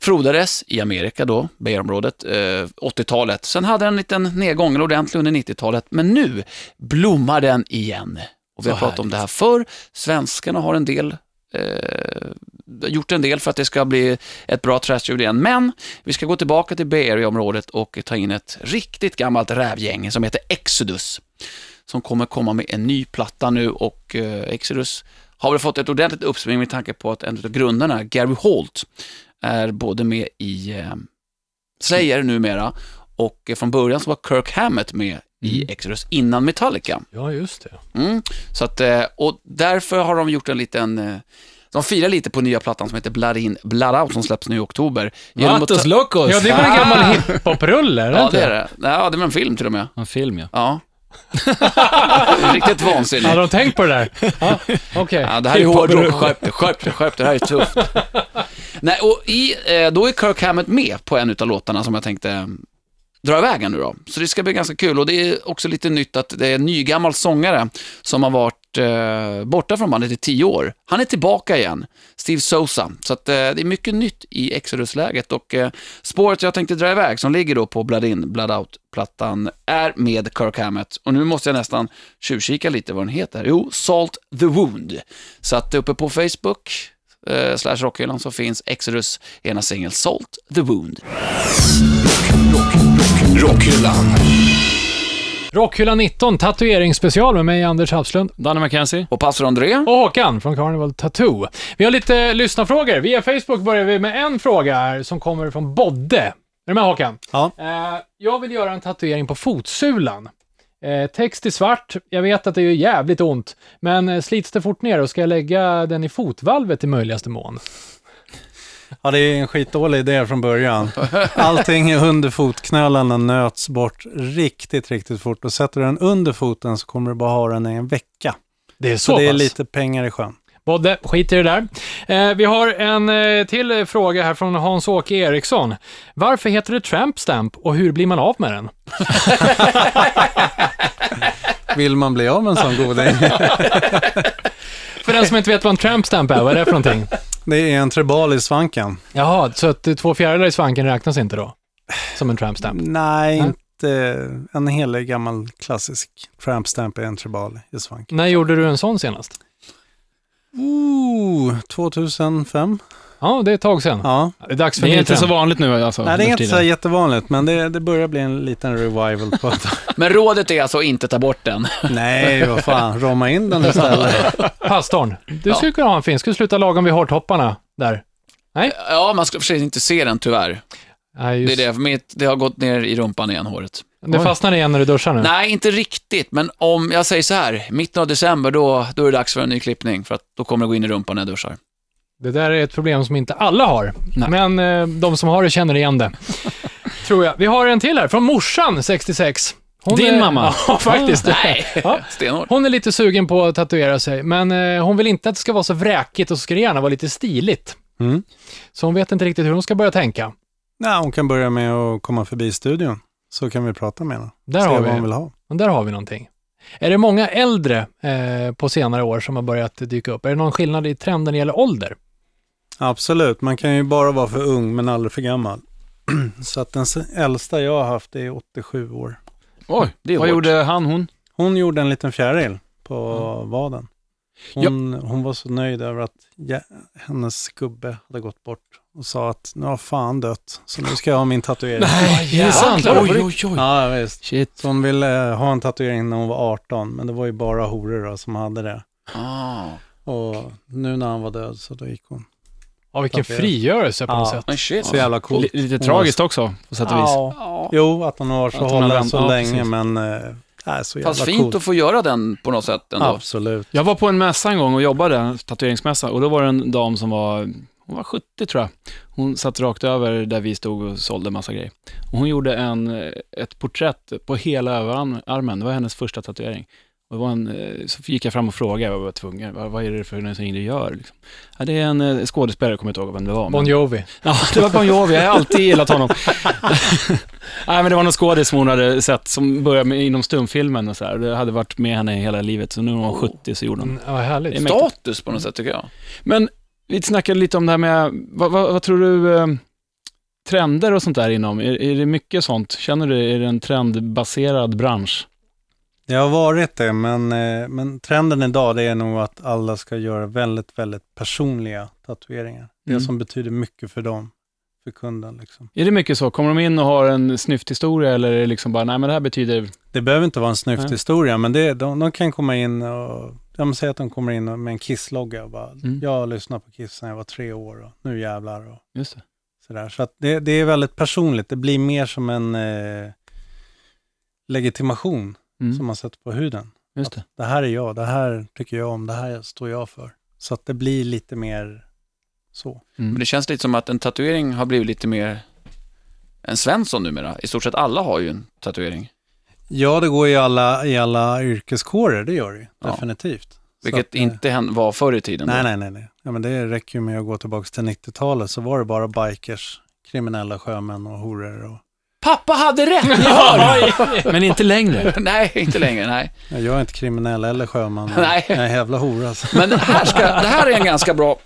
Speaker 4: frodades i Amerika då, Bay-området, eh, 80-talet. Sen hade den en liten nedgång, eller ordentlig under 90-talet, men nu blommar den igen. Och vi har
Speaker 2: Så
Speaker 4: pratat om det här förr. Svenskarna har en del eh, gjort en del för att det ska bli ett bra trashljud igen. Men vi ska gå tillbaka till Bay Area-området och ta in ett riktigt gammalt rävgäng som heter Exodus. Som kommer komma med en ny platta nu och eh, Exodus har väl fått ett ordentligt uppsving med tanke på att en av grundarna, Gary Holt, är både med i eh, Slayer numera och eh, från början så var Kirk Hammett med i Exodus innan Metallica.
Speaker 2: Ja, just det.
Speaker 4: Mm. Så att, eh, och därför har de gjort en liten, eh, de firar lite på nya plattan som heter Blood In, Blood Out som släpps nu i oktober. Genom att ta-
Speaker 3: Vatos locos!
Speaker 2: Ja, det var en gammal hiphop-rulle, är det
Speaker 4: Ja,
Speaker 2: inte?
Speaker 4: det är det. Ja, det var en film till och med.
Speaker 3: En film ja.
Speaker 4: Ja. Riktigt vansinnigt.
Speaker 2: Hade de tänkt på det där? Ja, okej.
Speaker 4: Ja, det här är hårdrock. Skärp dig, skärp dig, skärp dig. Det här är tufft. Nej, och i, eh, då är Kirk Hammett med på en utav låtarna som jag tänkte eh, dra iväg här nu då. Så det ska bli ganska kul och det är också lite nytt att det är en nygammal sångare som har varit eh, borta från bandet i tio år. Han är tillbaka igen, Steve Sosa. Så att, eh, det är mycket nytt i Exodus-läget och eh, spåret jag tänkte dra iväg som ligger då på Blood In, Blood Out-plattan är med Kirk Hammett. Och nu måste jag nästan tjuvkika lite vad den heter. Jo, Salt the Wound. Så att uppe på Facebook, eh, slash rockhyllan, så finns Exodus ena singel Salt the Wound.
Speaker 1: Rockhyllan.
Speaker 2: Rockhyllan 19, tatueringsspecial med mig, Anders Hafslund.
Speaker 3: Danny McKenzie.
Speaker 4: Och pastor André?
Speaker 2: Och Håkan från Carnival Tattoo. Vi har lite lyssnarfrågor. Via Facebook börjar vi med en fråga här som kommer från Bodde. Är du med Håkan?
Speaker 5: Ja.
Speaker 2: Eh, jag vill göra en tatuering på fotsulan. Eh, text i svart. Jag vet att det gör jävligt ont, men eh, slits det fort ner och ska jag lägga den i fotvalvet i möjligaste mån?
Speaker 5: Ja, det är en skitdålig idé från början. Allting under fotknölarna nöts bort riktigt, riktigt fort. Och sätter du den under foten så kommer du bara ha den i en vecka.
Speaker 2: Det är
Speaker 5: Så, det är lite pengar i sjön.
Speaker 2: Bodde, skit i det där. Eh, vi har en eh, till eh, fråga här från Hans-Åke Eriksson. Varför heter det tramp stamp och hur blir man av med den?
Speaker 5: Vill man bli av med en sån goding?
Speaker 2: För den som inte vet vad en tramp stamp är, vad är det för någonting?
Speaker 5: Det är en trebal i svanken.
Speaker 2: Jaha, så att eh, två fjärdedelar i svanken räknas inte då? Som en tramp stamp?
Speaker 5: Nej,
Speaker 2: Nej.
Speaker 5: inte. En hel gammal klassisk tramp stamp är en trebal i svanken.
Speaker 2: När gjorde du en sån senast?
Speaker 5: Ooh, 2005.
Speaker 2: Ja, det är ett tag sedan.
Speaker 5: Ja.
Speaker 2: Det är dags för en
Speaker 3: Det är
Speaker 2: ny
Speaker 3: inte så
Speaker 2: trend.
Speaker 3: vanligt nu alltså.
Speaker 5: Nej, det
Speaker 3: nu
Speaker 5: är
Speaker 3: för
Speaker 5: inte så
Speaker 3: tiden.
Speaker 5: här jättevanligt, men det, det börjar bli en liten revival på att...
Speaker 4: Men rådet är alltså att inte ta bort den.
Speaker 5: Nej, vad fan, rama in den istället.
Speaker 2: Pastorn, du
Speaker 4: Ja.
Speaker 2: skulle kunna ha en fin. Skulle sluta lagom vid hårtopparna där.
Speaker 4: Ja, man ska för sig inte se den tyvärr.
Speaker 2: Nej,
Speaker 4: Det, är
Speaker 2: just.
Speaker 4: det, för mitt, det har gått ner i rumpan igen, håret.
Speaker 2: det fastnar igen när du duschar nu.
Speaker 4: Nej, inte riktigt, men om jag säger så här, mitten av december, då, då är det dags för en ny klippning, för att då kommer det gå in i rumpan när jag duschar.
Speaker 2: Det där är ett problem som inte alla har, men eh, de som har det känner igen det. Tror jag. Vi har en till här, från morsan, 66. Hon
Speaker 3: Din
Speaker 2: är...
Speaker 3: mamma?
Speaker 2: Ja, faktiskt.
Speaker 4: Nej,
Speaker 2: Ja.
Speaker 4: stenhårt.
Speaker 2: Hon är lite sugen på att tatuera sig, men eh, hon vill inte att det ska vara så vräkigt och så ska det gärna vara lite stiligt.
Speaker 5: Mm.
Speaker 2: Så hon vet inte riktigt hur hon ska börja tänka.
Speaker 5: Nej, hon kan börja med att komma förbi studion, så kan vi prata med henne.
Speaker 2: Där
Speaker 5: Se
Speaker 2: har
Speaker 5: vad
Speaker 2: vi
Speaker 5: hon vill ha.
Speaker 2: Men där har vi någonting. Är det många äldre eh, på senare år som har börjat dyka upp? Är det någon skillnad i trenden när det gäller ålder?
Speaker 5: Absolut, man kan ju bara vara för ung men aldrig för gammal. Så att den s- äldsta jag har haft är 87 år.
Speaker 3: Oj,
Speaker 4: Det är
Speaker 3: vad
Speaker 4: hårt.
Speaker 3: gjorde han, hon?
Speaker 5: Hon gjorde en liten fjäril på vaden. Hon, hon var så nöjd över att jä- hennes gubbe hade gått bort och sa att nu har fan dött, så nu ska jag ha min tatuering.
Speaker 3: Nej,
Speaker 2: jävlar.
Speaker 3: Ah, Oj, oj, oj.
Speaker 5: ja, visst.
Speaker 3: Shit.
Speaker 5: Så hon ville eh, ha en tatuering när hon var 18, men det var ju bara horor då, som hade det.
Speaker 4: Ah,
Speaker 5: Och nu när han var död så då gick hon.
Speaker 2: Ja, vilken
Speaker 5: Tatuering.
Speaker 2: frigörelse på något
Speaker 5: Ja.
Speaker 2: sätt.
Speaker 4: men shit.
Speaker 5: Så jävla
Speaker 3: Li-
Speaker 5: coolt.
Speaker 3: Lite tragiskt också, på sätt och vis.
Speaker 5: Ja. Jo, att hon har varit så
Speaker 3: Att hon har
Speaker 5: hållen
Speaker 3: vänt-
Speaker 5: så
Speaker 3: ja,
Speaker 5: länge,
Speaker 3: precis.
Speaker 5: men eh, nej, så jävla
Speaker 4: Fast fint
Speaker 5: coolt.
Speaker 4: att få göra den på något sätt ändå.
Speaker 5: Absolut.
Speaker 3: Jag var på en mässa en gång och jobbade, tatueringsmässa, och då var det en dam som var, hon var 70 tror jag. Hon satt rakt över där vi stod och sålde massa grejer. Och hon gjorde en, eh, ett porträtt på hela överarmen, det var hennes första tatuering. Och det var en, eh, så gick jag fram och frågade, jag var tvungen, vad, vad är det för någonting du gör? Liksom. Ja, det är en eh, skådespelare, jag kommer inte ihåg vem det var. men-
Speaker 2: Bon Jovi.
Speaker 3: Ja, det var Bon Jovi. Jag har alltid gillat honom. Nej, men det var någon skådis som hon hade sett som började med, inom stumfilmen och så här. Det hade varit med henne hela livet, så nu är hon 70 så gjorde hon.
Speaker 2: Mm, ja, härligt.
Speaker 3: Det är
Speaker 4: Status på något sätt tycker jag.
Speaker 3: Men vi snackade lite om det här med, vad, vad, vad tror du, eh, trender och sånt där inom? Är, är det mycket sånt? Känner du, är det en trendbaserad bransch?
Speaker 5: Det har varit det, men, eh, men trenden idag det är nog att alla ska göra väldigt, väldigt personliga tatueringar.
Speaker 3: Mm.
Speaker 5: Det som betyder mycket för dem, för kunden. Liksom.
Speaker 3: Är det mycket så? Kommer de in och har en snyfthistoria eller är det liksom bara, nej men det här betyder,
Speaker 5: Det behöver inte vara en snyft
Speaker 3: Nej.
Speaker 5: historia, men det, de, de kan komma in och, jag måste säga att de kommer in och- med en Kiss-logga och bara,
Speaker 3: Mm.
Speaker 5: jag lyssnade på Kiss när jag var tre år och nu jävlar. Och,
Speaker 3: just det.
Speaker 5: Sådär. Så att det, det är väldigt personligt. Det blir mer som en eh, legitimation som
Speaker 3: Mm,
Speaker 5: man sätter på huden.
Speaker 3: just det.
Speaker 5: Det här är jag, det här tycker jag om, det här står jag för. Så att det blir lite mer så.
Speaker 4: Men det känns lite som att en tatuering har blivit lite mer en Svensson numera. I stort sett alla har ju en tatuering.
Speaker 5: Ja, det går i alla, i alla yrkeskårer, det gör det ju,
Speaker 4: Ja.
Speaker 5: definitivt. Så
Speaker 4: Vilket
Speaker 5: att, eh,
Speaker 4: inte hän- var förr i tiden.
Speaker 5: Nej, nej, nej. nej. Ja, men det räcker ju med att gå tillbaka till 90-talet så var det bara bikers, kriminella sjömän och horor. Och...
Speaker 4: Pappa hade rätt, ni hör!
Speaker 3: Men inte längre.
Speaker 4: nej, inte längre, nej.
Speaker 5: Ja, Jag är inte kriminell eller sjöman. men
Speaker 4: Nej.
Speaker 5: Jag är en jävla hora. Alltså.
Speaker 4: Men det här, ska, det här är en ganska bra...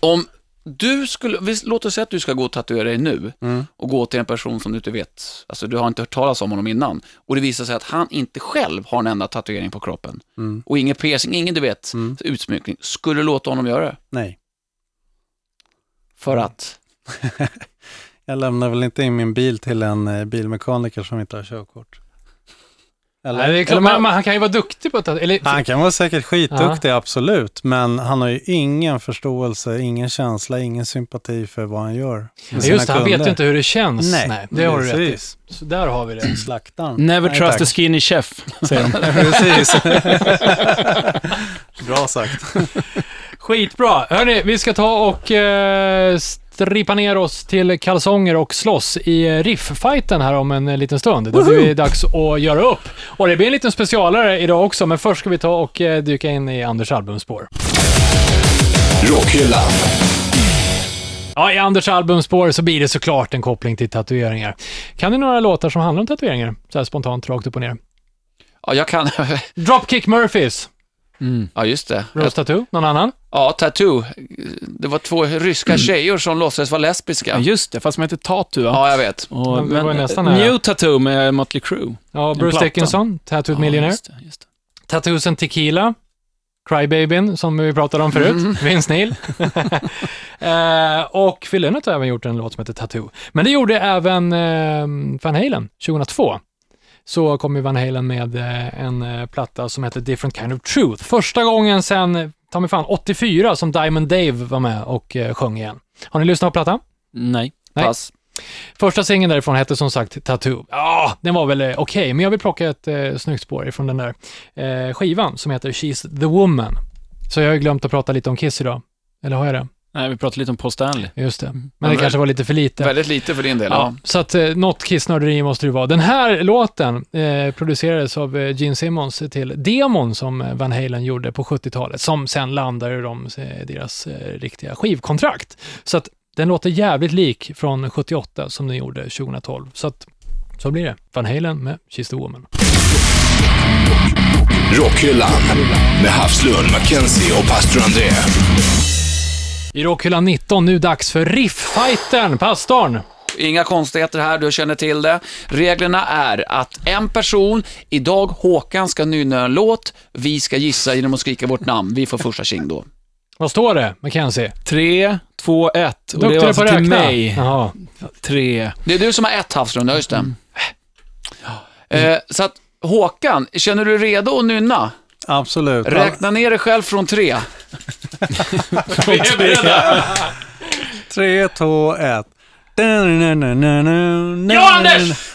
Speaker 4: Om du skulle, visst, låt oss säga att du ska gå och tatuera dig nu
Speaker 5: Mm.
Speaker 4: och gå till en person som du inte vet, alltså du har inte hört talas om honom innan och det visar sig att han inte själv har en enda tatuering på kroppen
Speaker 5: Mm.
Speaker 4: och ingen piercing, ingen du vet,
Speaker 5: Mm.
Speaker 4: utsmyckning. Skulle du låta honom göra det?
Speaker 5: Nej,
Speaker 4: För att?
Speaker 5: jag lämnar väl inte in min bil till en eh, bilmekaniker som inte har körkort. Eller?
Speaker 2: Nej, det är klart,
Speaker 3: Eller man-
Speaker 2: men, men han kan ju vara duktig på att ta- eller,
Speaker 5: Han kan vara säkert skitduktig, absolut. Men han har ju ingen förståelse, ingen känsla, ingen sympati för vad han gör. med
Speaker 2: Ja,
Speaker 5: sina
Speaker 2: Just det, han vet
Speaker 5: kunder.
Speaker 2: ju inte hur det känns. Nej,
Speaker 5: Nej,
Speaker 2: det har du rätt i.
Speaker 5: precis.
Speaker 2: Så där har vi det.
Speaker 5: Slaktaren.
Speaker 3: Never
Speaker 5: Nej,
Speaker 3: trust
Speaker 5: tack.
Speaker 3: a skinny chef, säger de.
Speaker 5: precis. Bra sagt.
Speaker 2: Skitbra! Hörni, vi ska ta och eh, strippa ner oss till kalsonger och slåss i eh, riff-fighten här om en eh, liten stund. Det är dags att göra upp. Och det blir en liten specialare idag också, men först ska vi ta och eh, dyka in i Anders albumspår.
Speaker 1: Rockhyllan.
Speaker 2: Ja, i Anders albumspår så blir det såklart en koppling till tatueringar. Kan ni några låtar som handlar om tatueringar? Så här spontant, rakt upp och ner.
Speaker 4: Ja, jag kan...
Speaker 2: Dropkick Murphys,
Speaker 4: ja, just det.
Speaker 2: Rose Tattoo, någon annan?
Speaker 4: Ja, Tattoo. Det var två ryska tjejer som låtsades vara
Speaker 3: Ja,
Speaker 4: lesbiska.
Speaker 3: just det, fast som heter Tatu. va?
Speaker 4: Ja, jag vet.
Speaker 3: Och,
Speaker 2: Men det var ju nästan nära.
Speaker 3: New Tattoo med Motley Crue.
Speaker 2: Ja,
Speaker 3: platta.
Speaker 2: Bruce Dickinson, Tattooed Millionaire.
Speaker 3: Ja, just det, just det.
Speaker 2: Tattoos and Tequila, Crybabyn som vi pratade om förut, Vince Neil. eh, och Phil Lynott har även gjort en låt som heter Tattoo. Men det gjorde även eh, Van Halen 2002. Så kom ju Van Halen med eh, en eh, platta som heter Different Kind of Truth. Första gången sen, eh, ta mig fan, 84 som Diamond Dave var med och eh, sjöng igen. Har ni lyssnat på plattan?
Speaker 3: Nej.
Speaker 2: Nej.
Speaker 4: Pass.
Speaker 2: Första singeln därifrån hette som sagt Tattoo. Ja, den var väl eh, okej, men jag vill plocka ett eh, snyggt spår ifrån den där eh, skivan som heter She's the Woman. Så jag har ju glömt att prata lite om Kiss idag. Eller har jag det?
Speaker 3: Nej, vi pratade lite om Paul Stanley.
Speaker 2: Just det. Men
Speaker 4: Ja,
Speaker 2: det
Speaker 4: men-
Speaker 2: kanske var lite för lite.
Speaker 4: Väldigt lite för din del.
Speaker 2: Ja,
Speaker 4: Ja.
Speaker 2: så att eh, något kissnörderi måste det ju vara. Den här låten eh, producerades av eh, Gene Simmons till demon som eh, Van Halen gjorde på 70-talet, som sen landade i de, eh, deras eh, riktiga skivkontrakt. Så att den låter jävligt lik från 78 som den gjorde 2012. Så att så blir det. Van Halen med She's the Woman.
Speaker 1: Rockhyllan med Havslund, Mackenzie och pastor André.
Speaker 2: I Rockhyllan 19, nu dags för Riff-fightern, pastorn.
Speaker 4: Inga konstigheter här, du känner till det. Reglerna är att en person, idag Håkan ska nynna en låt, vi ska gissa genom att skrika vårt namn. Vi får första tjing då.
Speaker 2: Vad står det, Mackenzie?
Speaker 3: Tre, två, ett. Och det
Speaker 2: Duktig
Speaker 3: var
Speaker 2: på
Speaker 3: alltså
Speaker 2: att
Speaker 3: till
Speaker 2: räkna.
Speaker 3: mig.
Speaker 2: Jaha.
Speaker 3: Tre.
Speaker 4: Det är du som har ett havsrunda, just det. Eh, så att, Håkan, känner du redo att nynna?
Speaker 5: Absolut.
Speaker 4: Räkna ner dig själv från tre.
Speaker 5: Tre, två, ett.
Speaker 2: Ja, Anders!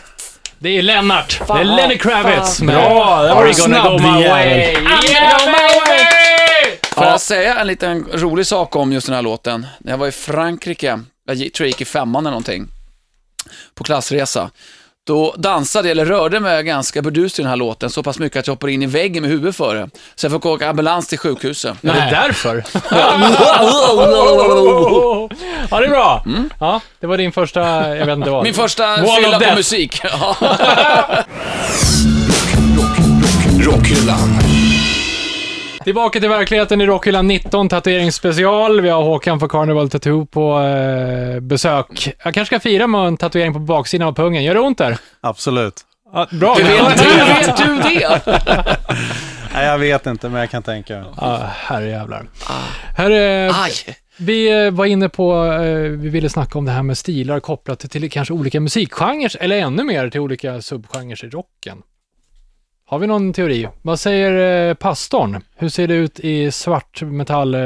Speaker 2: Det är Lennart. det är Lenny Kravitz. med
Speaker 3: Bra, det
Speaker 2: Are
Speaker 3: var en
Speaker 2: you gonna
Speaker 3: snabb
Speaker 2: go my
Speaker 3: jävel.
Speaker 2: way? Yeah, my way!
Speaker 4: Får jag säga en liten rolig sak om just den här låten? När jag var i Frankrike, jag gick- tror jag gick i femman eller någonting, på klassresa. Då dansade jag, eller rörde mig ganska burdust i den här låten, så pass mycket att jag hoppade in i väggen med huvudet före. Så jag fick åka ambulans till sjukhuset.
Speaker 2: Är det därför? ja, det är bra. Ja, det var din Mm. första, jag vet inte vad.
Speaker 4: Min första
Speaker 2: Wall of
Speaker 4: fylla på
Speaker 2: death.
Speaker 4: musik. Ja.
Speaker 1: Rockhyllan.
Speaker 2: Tillbaka till verkligheten i Rockhyllan 19, tatueringsspecial. Vi har Håkan från Carnival Tattoo på eh, besök. Jag kanske ska fira med en tatuering på baksidan av pungen. Gör det ont där?
Speaker 5: Absolut.
Speaker 2: Ja, bra.
Speaker 4: Hur vet, hur vet du det?
Speaker 5: Nej, jag vet inte, men jag kan tänka.
Speaker 2: Ja, Ah, herrejävlar. Herre,
Speaker 4: Aj.
Speaker 2: Vi eh, var inne på, eh, vi ville snacka om det här med stilar kopplat till- till kanske olika musikgenrer, eller ännu mer till olika subgenrer i rocken. Har vi någon teori? Vad säger eh, pastorn? Hur ser det ut i svart metall, eh,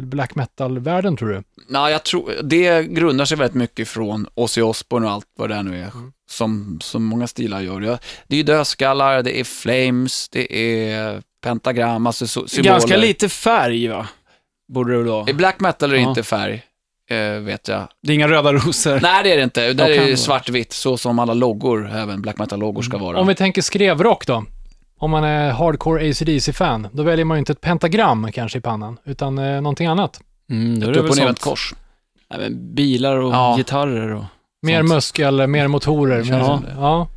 Speaker 2: black metal-världen tror du?
Speaker 4: Nej, jag tror, det grundar sig väldigt mycket från Ozzy Osbourne och allt vad det nu är,
Speaker 3: Mm.
Speaker 4: som, som många stilar gör. Ja, Det är ju dödskallar, det är flames, det är pentagram, alltså so- symboler.
Speaker 3: Ganska lite färg, va? Borde det väl vara?
Speaker 4: I black metal är det
Speaker 3: Ja.
Speaker 4: inte färg, eh, vet jag.
Speaker 3: Det är inga röda rosor.
Speaker 4: Nej, det är det inte. Där
Speaker 3: Vad kan
Speaker 4: är
Speaker 3: det
Speaker 4: det
Speaker 3: vara? Mm.
Speaker 4: svartvitt, så som alla loggor, även black metal-loggor ska vara.
Speaker 2: Om vi tänker skrevrock då? Om man är hardcore ACDC-fan, då väljer man ju inte ett pentagram kanske i pannan, utan eh, någonting annat.
Speaker 3: Mm, då är
Speaker 4: Ett
Speaker 3: det
Speaker 4: upp
Speaker 3: väl
Speaker 4: och ner ett
Speaker 3: sånt.
Speaker 4: kors.
Speaker 3: Nej, men bilar och
Speaker 4: Ja.
Speaker 3: gitarrer och...
Speaker 2: Mer
Speaker 3: sånt.
Speaker 2: muskel, mer motorer.
Speaker 3: Det känns
Speaker 2: mer-
Speaker 3: som
Speaker 2: ja.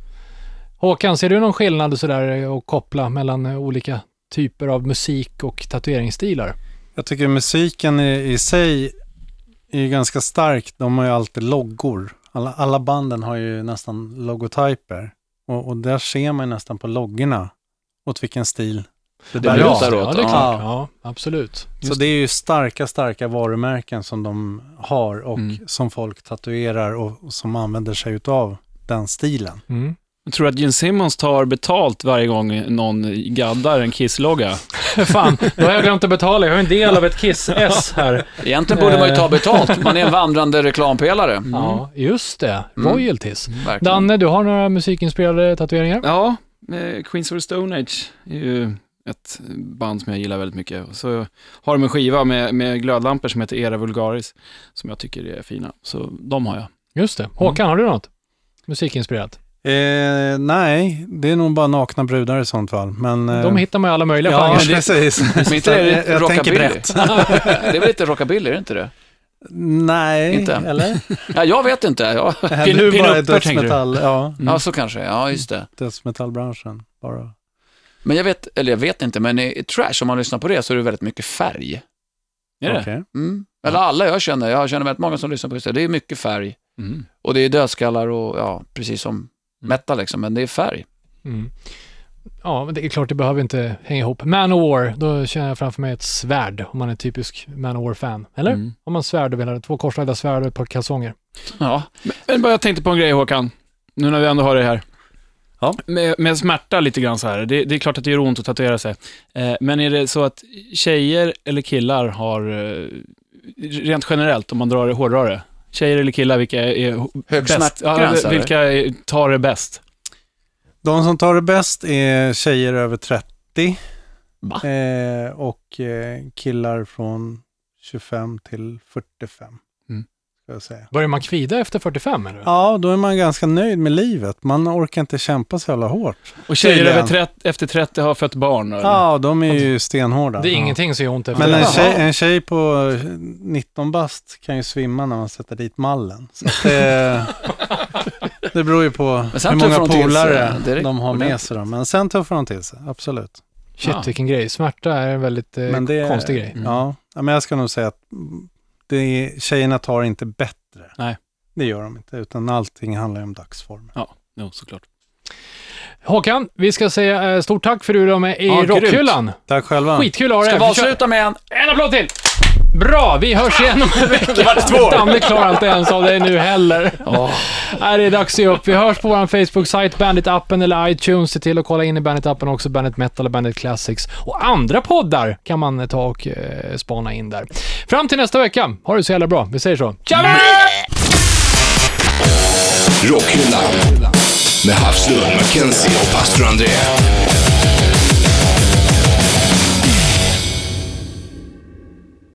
Speaker 2: Håkan, ser du någon skillnad sådär eh, att koppla mellan eh, olika typer av musik och tatueringsstilar?
Speaker 5: Jag tycker musiken i, i sig är ju ganska stark. De har ju alltid loggor. Alla, alla banden har ju nästan logotyper. Och, och där ser man ju nästan på loggorna åt vilken stil det
Speaker 4: Det
Speaker 5: bär
Speaker 4: lutar åt,
Speaker 5: av.
Speaker 2: ja, det är
Speaker 4: ja.
Speaker 2: klart. Ja, absolut.
Speaker 5: Så det är ju starka, starka varumärken som de har och
Speaker 3: Mm.
Speaker 5: som folk tatuerar och, och som använder sig utav den stilen.
Speaker 2: Mm.
Speaker 3: Jag tror att Gene Simmons tar betalt varje gång någon gaddar en kisslogga.
Speaker 2: Fan, då har jag glömt att betala. Jag har en del av ett Kiss-S här.
Speaker 4: Egentligen borde man ju
Speaker 3: Eh.
Speaker 4: ta betalt, man är en vandrande reklampelare.
Speaker 2: Ja, just det.
Speaker 4: Mm.
Speaker 2: Royalties.
Speaker 4: Verkligen.
Speaker 2: Danne, du har några musikinspirerade tatueringar?
Speaker 3: Ja, eh, Queens of the Stone Age är ju ett band som jag gillar väldigt mycket. Och Så har de en skiva med, med glödlampor som heter Era Vulgaris, som jag tycker är fina. Så de har jag.
Speaker 2: Just det. Håkan, har du något? Musikinspirerat.
Speaker 5: Eh, nej, det är nog bara nakna brudar i sånt fall. Men, eh,
Speaker 2: De hittar man i alla möjliga
Speaker 5: Ja,
Speaker 2: genrer.
Speaker 5: precis.
Speaker 4: Men inte är det
Speaker 5: jag tänker
Speaker 4: rockabilly?
Speaker 5: brett.
Speaker 4: Det är väl lite rockabilly, är det inte det?
Speaker 5: Nej,
Speaker 4: Inte?
Speaker 5: eller?
Speaker 4: Ja, jag vet inte. Ja,
Speaker 5: Eller
Speaker 3: pin
Speaker 5: bara
Speaker 3: upper, tänker du?
Speaker 5: dödsmetall, ja,
Speaker 3: Mm.
Speaker 4: ja så kanske. Ja, just det.
Speaker 5: dödsmetallbranschen. Bara.
Speaker 4: Men jag vet, eller jag vet inte, men i i trash, om man lyssnar på det, så är det väldigt mycket färg.
Speaker 3: Är det?
Speaker 5: Okej.
Speaker 4: Mm. Eller alla jag känner, jag känner väldigt många som lyssnar på just det, det är mycket färg.
Speaker 3: Mm.
Speaker 4: Och det är dödskallar och ja, precis som metal liksom, men det är färg.
Speaker 2: Mm. ja, men det är klart det behöver inte hänga ihop. Manowar, då känner jag framför mig ett svärd om man är typisk Manowar-fan. Eller?
Speaker 3: Mm.
Speaker 2: Om man svärd och vill ha två korslagda svärd och ett par kalsonger.
Speaker 4: Ja.
Speaker 3: Men bara jag tänkte på en grej Håkan, nu när vi ändå har det här.
Speaker 5: Ja.
Speaker 3: Med, med smärta lite grann så här. Det, det är klart att det gör ont att tatuera sig. Eh, men är det så att tjejer eller killar har, eh, rent generellt om man drar det hårdare, tjejer eller killar, vilka är- är
Speaker 4: Hög
Speaker 3: bäst? Ja,
Speaker 4: smärtgräns, eller?
Speaker 3: vilka är- tar det bäst?
Speaker 5: De som tar det bäst är tjejer över 30
Speaker 4: Va?
Speaker 5: eh, och eh, killar från 25 till 45.
Speaker 3: Mm.
Speaker 5: Ska jag säga.
Speaker 2: Börjar man kvida efter 45 eller?
Speaker 5: Ja, då är man ganska nöjd med livet. Man orkar inte kämpa så jävla hårt.
Speaker 3: Och tjejer
Speaker 5: Tydligen.
Speaker 3: över 30, efter 30 har fött barn? Eller?
Speaker 5: Ja, de är ju stenhårda.
Speaker 2: Det är
Speaker 5: Ja.
Speaker 2: ingenting som gör ont efter
Speaker 5: Men en
Speaker 2: det.
Speaker 5: tjej, en tjej på 19 bast kan ju svimma när man sätter dit mallen. Så att det, det beror ju på
Speaker 4: Men sen
Speaker 5: hur många
Speaker 4: tuffar de till sig eh,
Speaker 5: polare
Speaker 4: direkt,
Speaker 5: de har med
Speaker 4: ordentligt.
Speaker 5: sig. Då. Men sen tuffar de till sig, absolut.
Speaker 2: Shit vilken grej. Smärta är en väldigt eh,
Speaker 5: Men det-
Speaker 2: konstig grej.
Speaker 3: Mm.
Speaker 5: Ja, Ja, men jag ska nog säga att det är, tjejerna tar inte bättre.
Speaker 3: Nej.
Speaker 5: Det gör de inte, utan allting handlar ju om dagsform.
Speaker 3: Jo, såklart.
Speaker 2: Håkan, vi ska säga eh, stort tack för att du var med i
Speaker 3: Ja, grymt.
Speaker 2: rockhyllan.
Speaker 5: Tack själva.
Speaker 2: Skitkul att ha dig
Speaker 4: Ska vi
Speaker 2: här. Försök-
Speaker 4: avsluta med en?
Speaker 2: En applåd till! Bra, vi hörs igen om en vecka.
Speaker 4: Kvart två.
Speaker 2: Danne klarar inte ens av dig nu heller. Nej, det är dags att ge upp. Vi hörs på vår Facebook-sajt, Bandit-appen eller iTunes. Se till att kolla in i Bandit-appen också, Bandit Metal och Bandit Classics. Och andra poddar kan man eh, ta och eh, spana in där. Fram till nästa vecka. Ha det så jävla bra. Vi säger så. Tja!
Speaker 1: Rockhyllan med Havslund, Mackenzie och pastor André.